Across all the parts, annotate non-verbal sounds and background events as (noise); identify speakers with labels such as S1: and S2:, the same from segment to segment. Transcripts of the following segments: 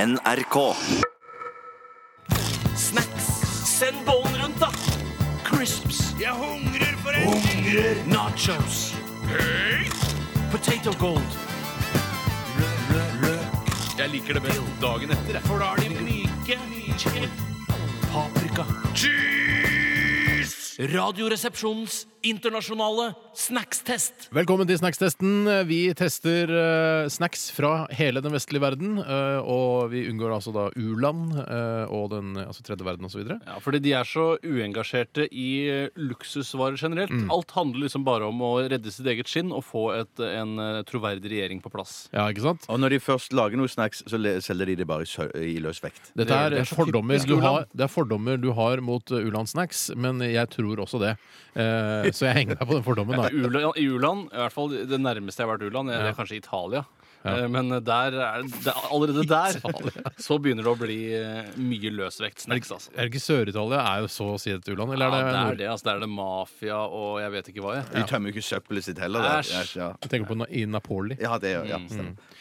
S1: NRK.
S2: Snacks. Send bollen rundt, da. Crisps. Jeg hungrer for en Nachos. Potato gold.
S3: Jeg liker det best dagen etter. For da er de myke.
S2: Paprika. Cheese! Radioresepsjonens internasjonale snackstest.
S4: Velkommen til snackstesten. Vi tester eh, snacks fra hele den vestlige verden. eh, og vi unngår altså da u-land eh, og den eh, altså tredje verden osv.
S3: Ja, fordi de er så uengasjerte i eh, luksusvarer generelt.
S4: Mm.
S3: Alt handler liksom bare om å redde sitt eget skinn og få et, en eh, troverdig regjering på plass.
S4: Ja, ikke sant?
S5: Og når de først lager noe snacks, så le- selger de det bare i sø- i løs vekt.
S4: Dette er,
S3: Det er så
S4: fordommer
S3: typisk
S4: du
S3: u-land.
S4: har, det er fordommer du har mot eh, u-landssnacks, men jeg tror også det. Eh, så jeg henger meg på den fordommen. da
S3: Ula- I u-land, i hvert fall det nærmeste jeg har vært u-land, det er kanskje Italia. Eh, Men der er, det, allerede der (laughs) så begynner det å bli eh, mye løsvektsnacks. Altså.
S4: (laughs) Er det ikke Sør-Italia er jo så å si et u-land? Eller
S3: Ja, det
S4: er
S3: er
S4: det,
S3: det. Altså, der er det mafia og jeg vet ikke hva. Jeg.
S5: De tømmer jo ikke søppelet sitt heller. der.
S3: Æsj.
S5: Ja,
S4: jeg tenker på na- i Napoli.
S5: ja, det gjør ja,
S4: Mm,
S5: stemmer.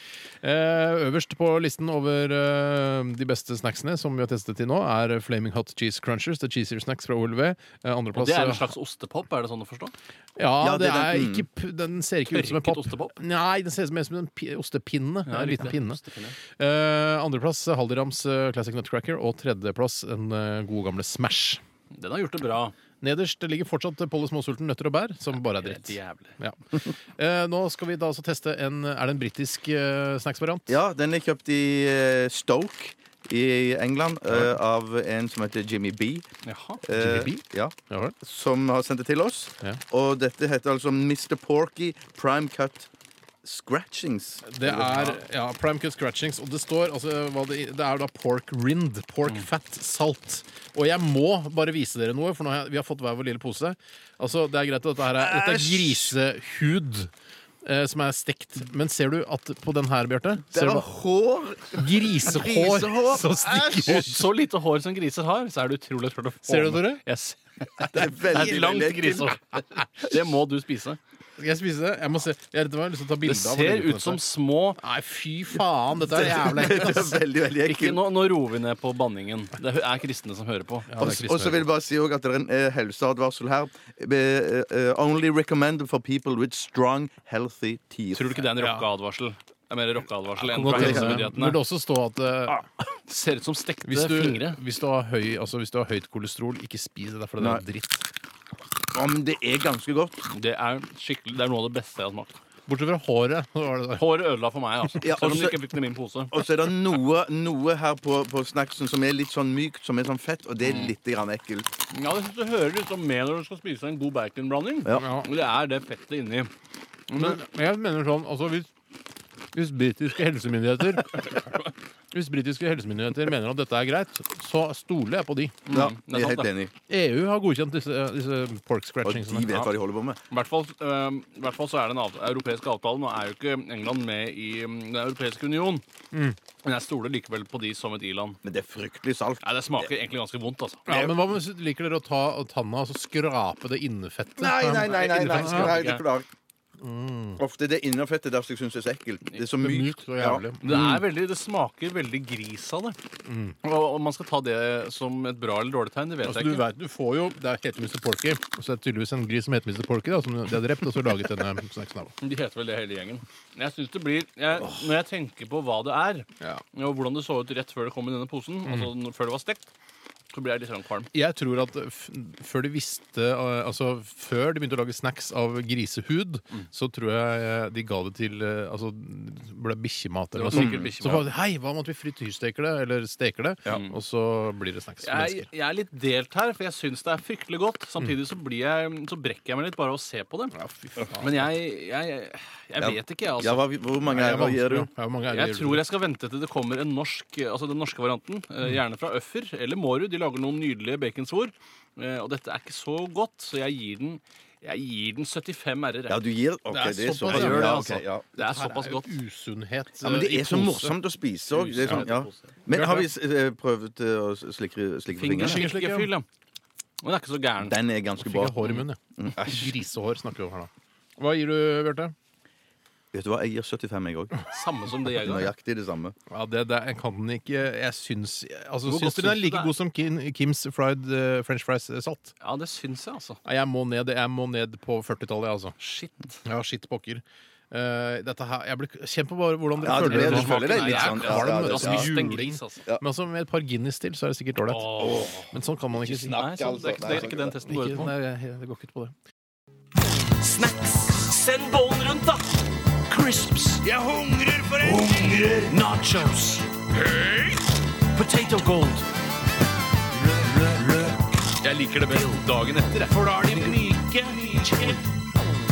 S4: Eh, øverst på listen over eh, de beste snacksene som vi har testet til nå, er Flaming Hot Cheese Crunchers. Det er cheesier snacks fra OLV. Eh, andreplass
S3: Det er en slags ostepop, er det sånn å forstå?
S4: Ja,
S5: Ja,
S4: det,
S5: det er
S4: er
S5: den-
S4: ikke p- Den ser ikke ut som en
S3: Tørket
S4: pop.
S3: ostepop?
S4: Nei, den ser ut som en- som en pi- ostepinne. en liten
S3: riktig.
S4: pinne.
S3: Ostepinne.
S4: Eh, andreplass eh, Haldirams eh, Classic Nutcracker, og tredjeplass en eh, god gamle Smash.
S3: Den har gjort det bra.
S4: Nederst ligger fortsatt eh, Polly Småsulten nøtter og bær, som bare er dritt.
S3: Helt jævlig.
S4: Ja. (laughs) Eh, nå skal vi da altså teste en Er det en britisk eh, snacksvariant?
S5: ja, den er kjøpt i eh, Stoke i England eh, av en som heter Jimmy B.
S3: Jaha.
S5: Eh,
S4: Jimmy B?
S5: Ja,
S4: Ja vel.
S5: som har sendt det til oss.
S4: Ja.
S5: Og dette heter altså Mr. Porky Prime Cut Scratchings.
S4: Det er ja, prime cut scratchings, og det står altså, hva det, det er da pork rind, pork fat, salt. Og jeg må bare vise dere noe, for nå har jeg, vi har fått hver vår lille pose. Altså, Det er greit at dette her er, dette er grisehud eh, som er stekt. Men ser du at på den her, Bjarte,
S5: Det
S4: ser du
S5: (laughs) er hår!
S4: hva- grisehår,
S5: Grisehår,
S4: som stikker
S3: Og
S4: ut.
S3: så lite hår som griser har, så er det utrolig tørt å få
S4: Ser du,
S3: med.
S4: Tore?
S3: Jeg ser-
S5: Det er
S3: Det
S5: veldig,
S3: er langt
S5: veldig ekkelt.
S3: grisehår. (laughs) Det må du spise.
S4: Skal jeg spise det? Jeg må se. Jeg er redd for jeg har lyst til å ta
S3: Det
S4: bilde av og legge
S3: ser
S4: på
S3: ut som
S4: dette.
S3: små
S4: Nei, fy faen, dette er jævla ekkelt.
S5: (laughs) Det er veldig, veldig
S3: ikke,
S5: ekkelt.
S3: nå, nå roer vi ned på banningen. Det er kristne som hører på.
S4: Ja, det er
S5: Og så vil jeg bare si også at det er en eh, helseadvarsel her. Be, eh, eh, only recommended for people with strong, healthy teeth.
S3: Tror du ikke det er en rockeadvarsel? Det er mer rockeadvarsel enn
S4: Nå
S3: fra
S4: tenker jeg-
S3: helsemyndighetene.
S4: Burde det også stå at eh,
S3: Det Ser ut som stekte
S4: Hvis du,
S3: fingre.
S4: hvis, du har høy, altså hvis du har høyt kolesterol, ikke spis det, der, for det er
S5: Nei.
S4: dritt.
S5: Ja, men det er ganske godt.
S3: Det er skikkelig, det er noe av det beste jeg har smakt.
S4: Bortsett fra håret. så var det der.
S3: Håret ødela for meg, altså.
S5: Ja,
S3: Selv om du
S5: også-
S3: ikke fikk det i min pose.
S5: Og så er det noe, noe her på, på snacksen som er litt sånn mykt, som er sånn fett, og det
S3: Mm.
S5: er litt grann ekkelt.
S3: Ja, det synes jeg hører liksom med når du skal spise en god baconblanding.
S4: Ja.
S3: Det er det fettet inni.
S4: Men jeg mener sånn, altså hvis, hvis britiske helsemyndigheter (laughs) Hvis britiske helsemyndigheter mener at dette er greit, så stoler jeg på de.
S5: Ja,
S3: det er
S5: jeg er
S3: sant,
S5: helt
S3: det.
S5: enig.
S4: EU har godkjent disse, disse pork
S5: Og
S4: scratchingsene.
S5: de vet hva de holder på med.
S3: I hvert fall, eh, i hvert fall så er det en av, europeisk avtale. Nå er jo ikke England med i mm, Den europeiske union.
S4: Mm.
S3: Men jeg stoler likevel på de som et i-land.
S5: Men det er fryktelig salt.
S3: Nei, Det smaker egentlig ganske vondt, altså.
S4: Ja, men hva med, Liker dere å ta tanna og så skrape det Sånn innefettet?
S5: Nei, nei, nei, nei, nei,
S3: Innefettet
S5: nei
S3: skal
S5: det
S3: ikke. Mm.
S5: klarer Ofte det innerfettet der som jeg syns er så ekkelt. Det er så mykt.
S4: Mykt og jævlig. Mm.
S3: Det, er veldig, det smaker veldig gris av det. Og om man skal ta det som et bra eller dårlig tegn, det vet
S4: Altså,
S3: jeg
S4: du
S3: ikke.
S4: vet, du får jo, Det er- heter Mr. Porky, og så er det tydeligvis en gris som heter Mr. Porky, da, som de har drept og så laget denne snacksen av.
S3: De heter vel det hele gjengen. Jeg synes det blir, jeg, Når jeg tenker på hva det er,
S4: Ja.
S3: og hvordan det så ut rett før det kom i denne posen,
S4: Mm.
S3: altså n- før det var stekt, så blir jeg litt sånn kvalm.
S4: Jeg tror at f før de visste eh, Altså før de begynte å lage snacks av grisehud,
S3: Mm.
S4: så tror jeg eh, de ga det til eh, Altså ble bikkjemat
S3: Det var
S4: eller noe sånt.
S3: sikkert
S4: Så
S3: bikkjemat.
S4: bare, Hei, hva om at vi frityrsteker det? Eller steker det? Og så blir det snacks. for
S3: Jeg,
S4: mennesker.
S3: jeg er litt delt her, for jeg syns det er fryktelig godt. Samtidig så, blir jeg, så brekker jeg meg litt bare av å se på det. Men jeg, jeg, jeg vet ikke, jeg, altså.
S5: Ja, hva, hvor mange
S4: Det er
S5: eiere gir du?
S4: vanskelig, ja. Ja, hvor mange
S3: Jeg
S4: eiere
S3: tror
S4: gir du?
S3: jeg skal vente til det kommer en norsk, altså den norske varianten.
S5: Mm.
S3: eh, Gjerne fra Øffer eller Mårud. De lager noen nydelige baconsvor. eh, Og dette er ikke så godt, så jeg gir den, jeg gir den 75 r-er.
S5: Ja, du gir? OK,
S4: Det er
S5: det er
S4: såpass,
S5: såpass.
S4: ja.
S3: Jeg gjør det,
S5: Ja,
S3: altså.
S5: ok, ja.
S3: Det er
S4: Her
S3: såpass
S4: jo
S3: godt.
S4: Usunnhet.
S5: Ja, men det
S4: eh, i
S5: er så
S4: pose.
S5: morsomt å spise òg. sånn, Ja. Men har vi eh, prøvd eh, å slikke slikke på fingrene?
S3: Fingerslikkefyll, ja. Men det er ikke så gæren.
S5: Den er ganske
S4: Fikk
S5: bra.
S3: Mm.
S4: jeg hår i munnen, jeg. Grisehår snakker vi om her nå. Hva gir du, Bjarte?
S5: Vet du hva, jeg gir 75, jeg òg.
S3: Samme som det jeg ga.
S5: Nøyaktig det samme.
S4: Ja, det, det, jeg kan den ikke Jeg syns altså, Syns dere
S3: Hvor godt
S4: den er
S3: syns du det
S4: like
S3: er?
S4: god som Kim, Kims fried eh, french fries eh, salt?
S3: Ja, det syns jeg, altså.
S4: Nei, Jeg må ned, jeg må ned på 40-tallet, jeg, altså.
S3: Shit.
S4: Ja, skitt pokker. Eh, dette her, jeg blir, kjenn på bare hvordan dere
S5: Ja,
S4: føler
S5: det blir-
S4: dere
S5: du
S4: nå.
S5: føler deg
S3: Nei,
S5: litt
S3: jeg
S5: sånn
S3: er
S5: ja,
S4: kvalm,
S5: ja,
S4: vet du.
S5: det-
S3: Altså,
S5: ja.
S3: mye gris, altså.
S4: Men altså, med et par Guinness til, så er det sikkert ålreit.
S3: Åh.
S4: Men sånn kan man ikke si.
S3: altså. Nei, sant, det er ikke, det er ikke den testen går
S4: Ikke,
S3: ut på.
S4: nei, jeg- det går ikke ut på det.
S2: Snacks. Send bollen rundt, da. Crisps. Jeg hungrer for en Hungrer. Nachos. Potato gold.
S3: Jeg liker det best dagen etter. jeg. For da er de myke.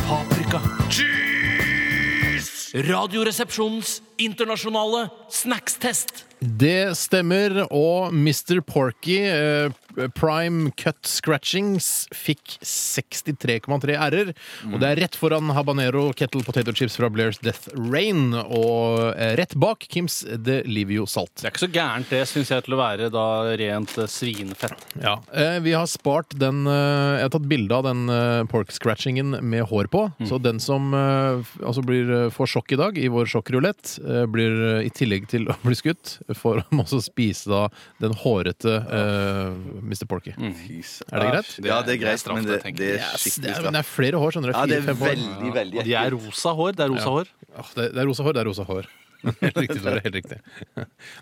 S2: Paprika. Cheese! Radioresepsjonens internasjonale snackstest.
S4: Det stemmer, og Mr. Porky, eh, Prime Cut Scratchings, fikk 63,3 r-er. Og det er rett foran habanero kettle potato chips fra Blairs Death Rain, og eh, rett bak Kims De Livio Salt.
S3: Det er ikke så gærent det, syns jeg, til å være da rent eh, svinfett.
S4: Ja. Eh, Vi har spart den eh, Jeg har tatt bilde av den eh, pork scratchingen med hår på. Så den som eh, f- altså blir, eh, får sjokk i dag i vår sjokkrulett, eh, blir eh, i tillegg til å bli skutt, får (laughs) han også spise da den hårete eh, Mr. Porky.
S5: Jeez.
S4: Er det greit?
S5: Ja, det er
S3: Det er
S5: greit,
S3: straff,
S5: men det,
S3: det tenker
S5: ah, det
S3: jeg.
S5: er
S4: Yes, det,
S5: skikkelig
S4: er, men
S5: straff.
S4: det er flere hår, skjønner du.
S5: Ja, det er
S4: Fire-fem hår.
S5: veldig, veldig
S3: Og de er rosa hår. Det er rosa hår.
S4: Åh, det, det er rosa hår, det er rosa hår. (laughs) Helt riktig, Tore. Helt riktig.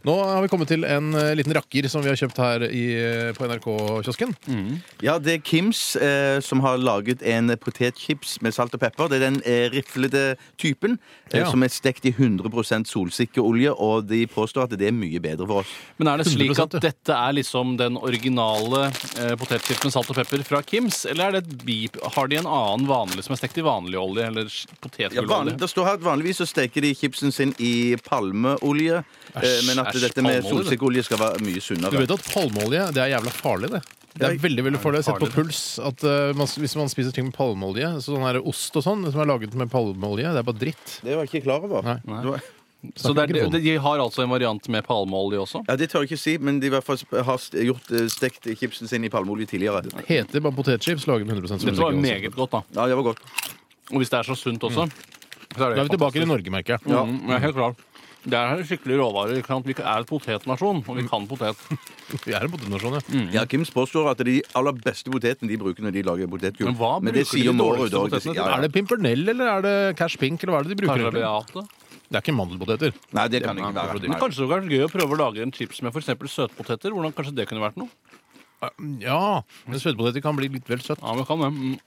S4: Nå har vi kommet til en eh, liten rakker som vi har kjøpt her i, eh, på NRK-kiosken.
S5: Ja, det er Kims eh, som har laget en potetchips med salt og pepper. Det er den eh, riflede typen
S4: Ja.
S5: eh, som er stekt i 100 solsikkeolje, og de påstår at det er mye bedre for oss.
S3: Men er det slik at
S4: 100%, ja.
S3: dette er liksom den originale eh, potetchips med salt og pepper fra Kims? Eller er det et bip? har de en annen vanlig som er stekt i vanlig olje? Eller s-
S5: Ja, vanlig,
S3: potetgullolje?
S5: det står her at Vanligvis så steker de chipsen sin i palmeolje, eh, men at
S3: æsj,
S5: dette
S3: palmeolje,
S5: med
S3: det.
S5: solsikkeolje skal være mye
S4: Du
S5: sunnere.
S4: vet at palmeolje det er jævla farlig, det. Det er
S5: Ja,
S4: veldig veldig farlig. Jeg har sett på
S3: farlig,
S4: puls at eh, man, hvis man spiser ting med palmeolje, så sånn her ost og sånn som er laget med palmeolje, det er bare dritt.
S5: Det var jeg ikke klar over.
S4: Nei.
S5: Det var-
S3: Så det er,
S4: ikke
S3: de, de har altså en variant med palmeolje også?
S5: Ja, Det tør jeg ikke si, men de i hvert fall sp- har st- gjort, eh, stekt chipsen sin i palmeolje tidligere.
S4: Heter bare potetchips laget med 100
S3: Dette var jo
S4: solsikkeolje.
S3: meget godt, da.
S5: Ja, det var godt.
S3: Og hvis det er så sunt også, så Mm. er
S4: Da
S3: det
S4: er vi tilbake til Norge, merker jeg.
S3: Ja, jeg er helt klar. Det er skikkelig råvarer. Ikke sant? Vi er et potetnasjon, og vi kan potet.
S4: (laughs) Vi er en potetnasjon, ja.
S5: Ja, Kims påstår at de aller beste potetene de bruker når de lager potetgull.
S3: Men hva bruker
S5: det
S3: de
S5: sier
S3: de
S5: Mårud
S3: dårligste
S5: også, det
S3: potetene
S5: sier- ja,
S3: til?
S5: ja.
S4: Er det pimpernell, eller er det cash pink, eller hva er det de bruker?
S3: Kanskje
S4: egentlig?
S3: beate.
S4: Det er ikke mandelpoteter.
S5: Nei, det kan ikke være.
S3: Men
S5: Nei.
S3: kanskje det hadde vært gøy å prøve å lage en chips med for eksempel søtpoteter? Hvordan kanskje det kunne vært noe?
S4: Ja, men søtpoteter kan bli litt vel søtt.
S3: Ja, men kan det. Mm.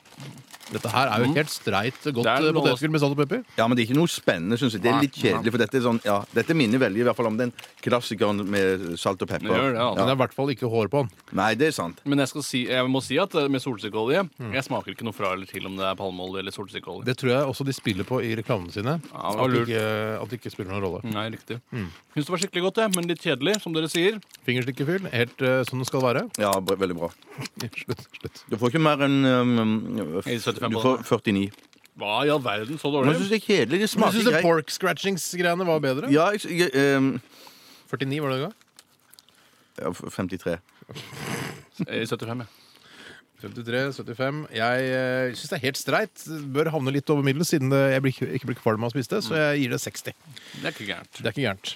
S4: Dette her er jo helt streit godt
S3: Det er
S4: eh,
S3: noe-
S4: potetgull med salt og pepper.
S5: Ja, men det er ikke noe spennende, syns jeg. Det er litt kjedelig, for dette er sånn, ja, dette minner veldig i hvert fall om den klassikeren med salt og pepper.
S3: Det gjør det, altså.
S4: Men det er i hvert fall ikke hår på den.
S5: Nei, det er sant.
S3: Men jeg, skal si, jeg må si at eh, med solsikkeolje Jeg smaker ikke noe fra eller til om det er palmeolje eller solsikkeolje.
S4: Mm. Det tror jeg også de spiller på i reklamene sine.
S3: Ja, det var
S4: at, det
S3: lurt.
S4: ikke, at det ikke spiller noen rolle.
S3: Nei, riktig.
S4: Mm.
S3: Syns det var skikkelig godt, jeg, men litt kjedelig, som dere sier.
S4: Fingerstikkefyll, helt eh, som det skal være. (laughs)
S5: Ja, br- veldig bra.
S4: Slutt. slutt.
S5: Du får ikke mer enn um,
S3: I 75
S5: Du får 49.
S3: Hva i all verden, så
S5: Men
S3: dårlig?
S5: jeg syns det er kjedelig. Det
S4: Men syns
S5: smaker
S4: du
S5: greit.
S4: pork scratchings-greiene var bedre?
S5: Ja, jeg, jeg, ehm,
S4: 49 var det det ga?
S5: ja, 53.
S3: Eh, I 75, ja.
S4: 53, 75 Jeg uh, syns det er helt streit. Bør havne litt over middels, siden det, jeg blir, ikke- ikke blir kvalm av å spise det.
S5: Mm.
S4: Så jeg gir det 60.
S3: Det er ikke gærent.
S4: Det er ikke gærent.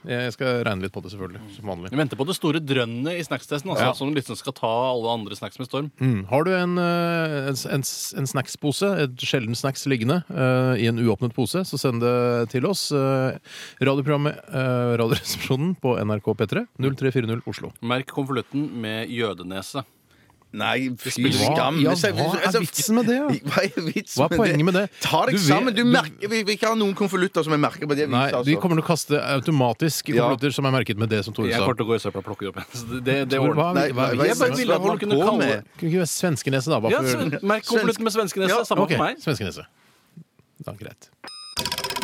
S4: Jeg skal regne litt på det, selvfølgelig. Som vanlig.
S3: Jeg venter på det store drønnet i snackstesten, altså,
S4: Ja.
S3: som liksom skal ta alle andre snacks med storm.
S4: Mm. Har du en, eh, en, en, en snackspose, et sjelden snacks liggende, eh, i en uåpnet pose, så send det til oss. eh, radioprogrammet eh, Radioresepsjonen på NRK P3, 0340 Oslo.
S3: Merk konvolutten med jødenese.
S5: Nei, fy
S4: spiller ikke-
S5: skam.
S4: Ja,
S5: Det ser-
S4: hva er
S5: altså,
S4: vitsen med det,
S5: (laughs) Hva er vitsen
S4: Hva er poenget med det?
S5: Ta
S4: Du
S5: deg
S4: vet-
S5: sammen. Du
S4: du-
S5: merker, vi vil ikke ha noen konvolutter som er merket på det viset.
S4: Nei, de
S5: altså.
S4: kommer til å kaste automatisk
S5: Ja.
S4: konvolutter som er merket med det som Tore
S3: Jeg
S4: sa.
S3: kommer til å gå i søpla og plukke det opp igjen. (laughs) Så Det, det, det
S4: Tore,
S3: ordner
S4: hva-
S5: Nei,
S4: hva er
S5: hva-
S3: Jeg bare
S4: vitsen?
S3: ville at man
S5: Hva
S3: kunne
S5: holder du på
S3: kalle
S5: med?
S3: det
S4: Kunne ikke være svenskenese, da? Bare
S3: ja,
S4: for,
S3: sven- Merk konvolutten med svenkenese.
S5: Ja,
S3: Samme
S4: Ok,
S3: for meg.
S4: svenskernese. Ja, greit.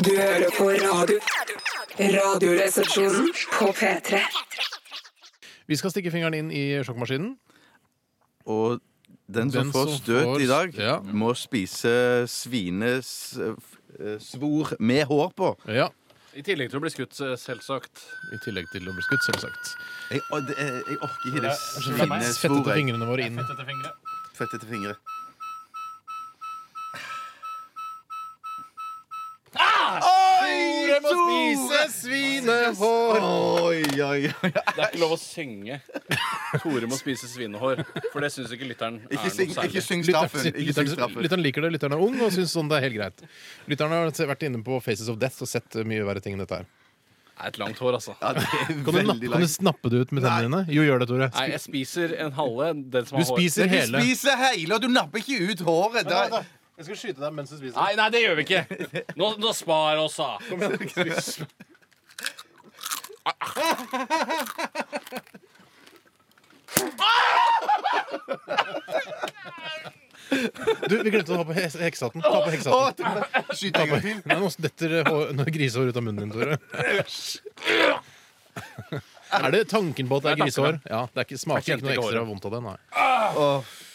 S1: Du hører på radio. Radioresepsjonen på P3.
S4: Vi skal stikke fingeren inn i sjokkmaskinen.
S5: Og den som
S4: Den
S5: får
S4: som
S5: støt
S4: får-
S5: i dag,
S4: ja.
S5: må spise svinesvor med hår på.
S4: Ja,
S3: I tillegg til å bli skutt, eh, selvsagt.
S4: I tillegg til å bli skutt, selvsagt.
S5: Jeg, å, det- jeg, jeg orker ikke det
S4: Fettete
S5: svinesvoret.
S4: fingrene våre inn.
S5: Fettete fingre.
S4: svinehår.
S5: Oi, oi, oi.
S3: Det er ikke lov å synge 'Tore må spise svinehår', for det syns ikke lytteren er
S5: Ikke syng,
S3: noe særlig.
S5: ikke syng straffen.
S4: Lytteren
S5: Ikke syng
S4: lytteren-
S5: straffen.
S4: lytteren liker det, lytteren er ung og syns sånn det er helt greit. Lytteren har vært inne på Faces of Death og sett mye verre ting enn dette her.
S3: Det er et langt hår, altså.
S5: Ja, det er
S4: Kan du, napp, kan
S5: veldig
S4: du
S5: langt.
S4: snappe det ut med tennene dine? Jo, gjør det, Tore.
S3: Nei, jeg spiser en halve. Den som
S4: Du
S3: har hår.
S4: spiser
S5: Du
S4: hele.
S5: spiser hele, og du napper ikke ut håret. Da-
S4: Jeg skal skyte deg mens du spiser.
S3: Nei, nei, det gjør vi ikke. Nå, nå spar oss, da.
S4: Du, vi glemte å ta på he- heksehatten. Ta på
S5: Å,
S4: heksehatten.
S5: det- Skyt en gang til.
S4: Nei, nå detter eh, hår- nå er grisehår ut av munnen din, Tore. Er det tanken på at det er
S3: Det er tanken,
S4: grisehår? Ja, det er ikke, smaker
S3: Jeg kjente
S4: ikke noe
S3: ikke
S4: ekstra
S3: håret.
S4: vondt av det, nei.
S5: Å,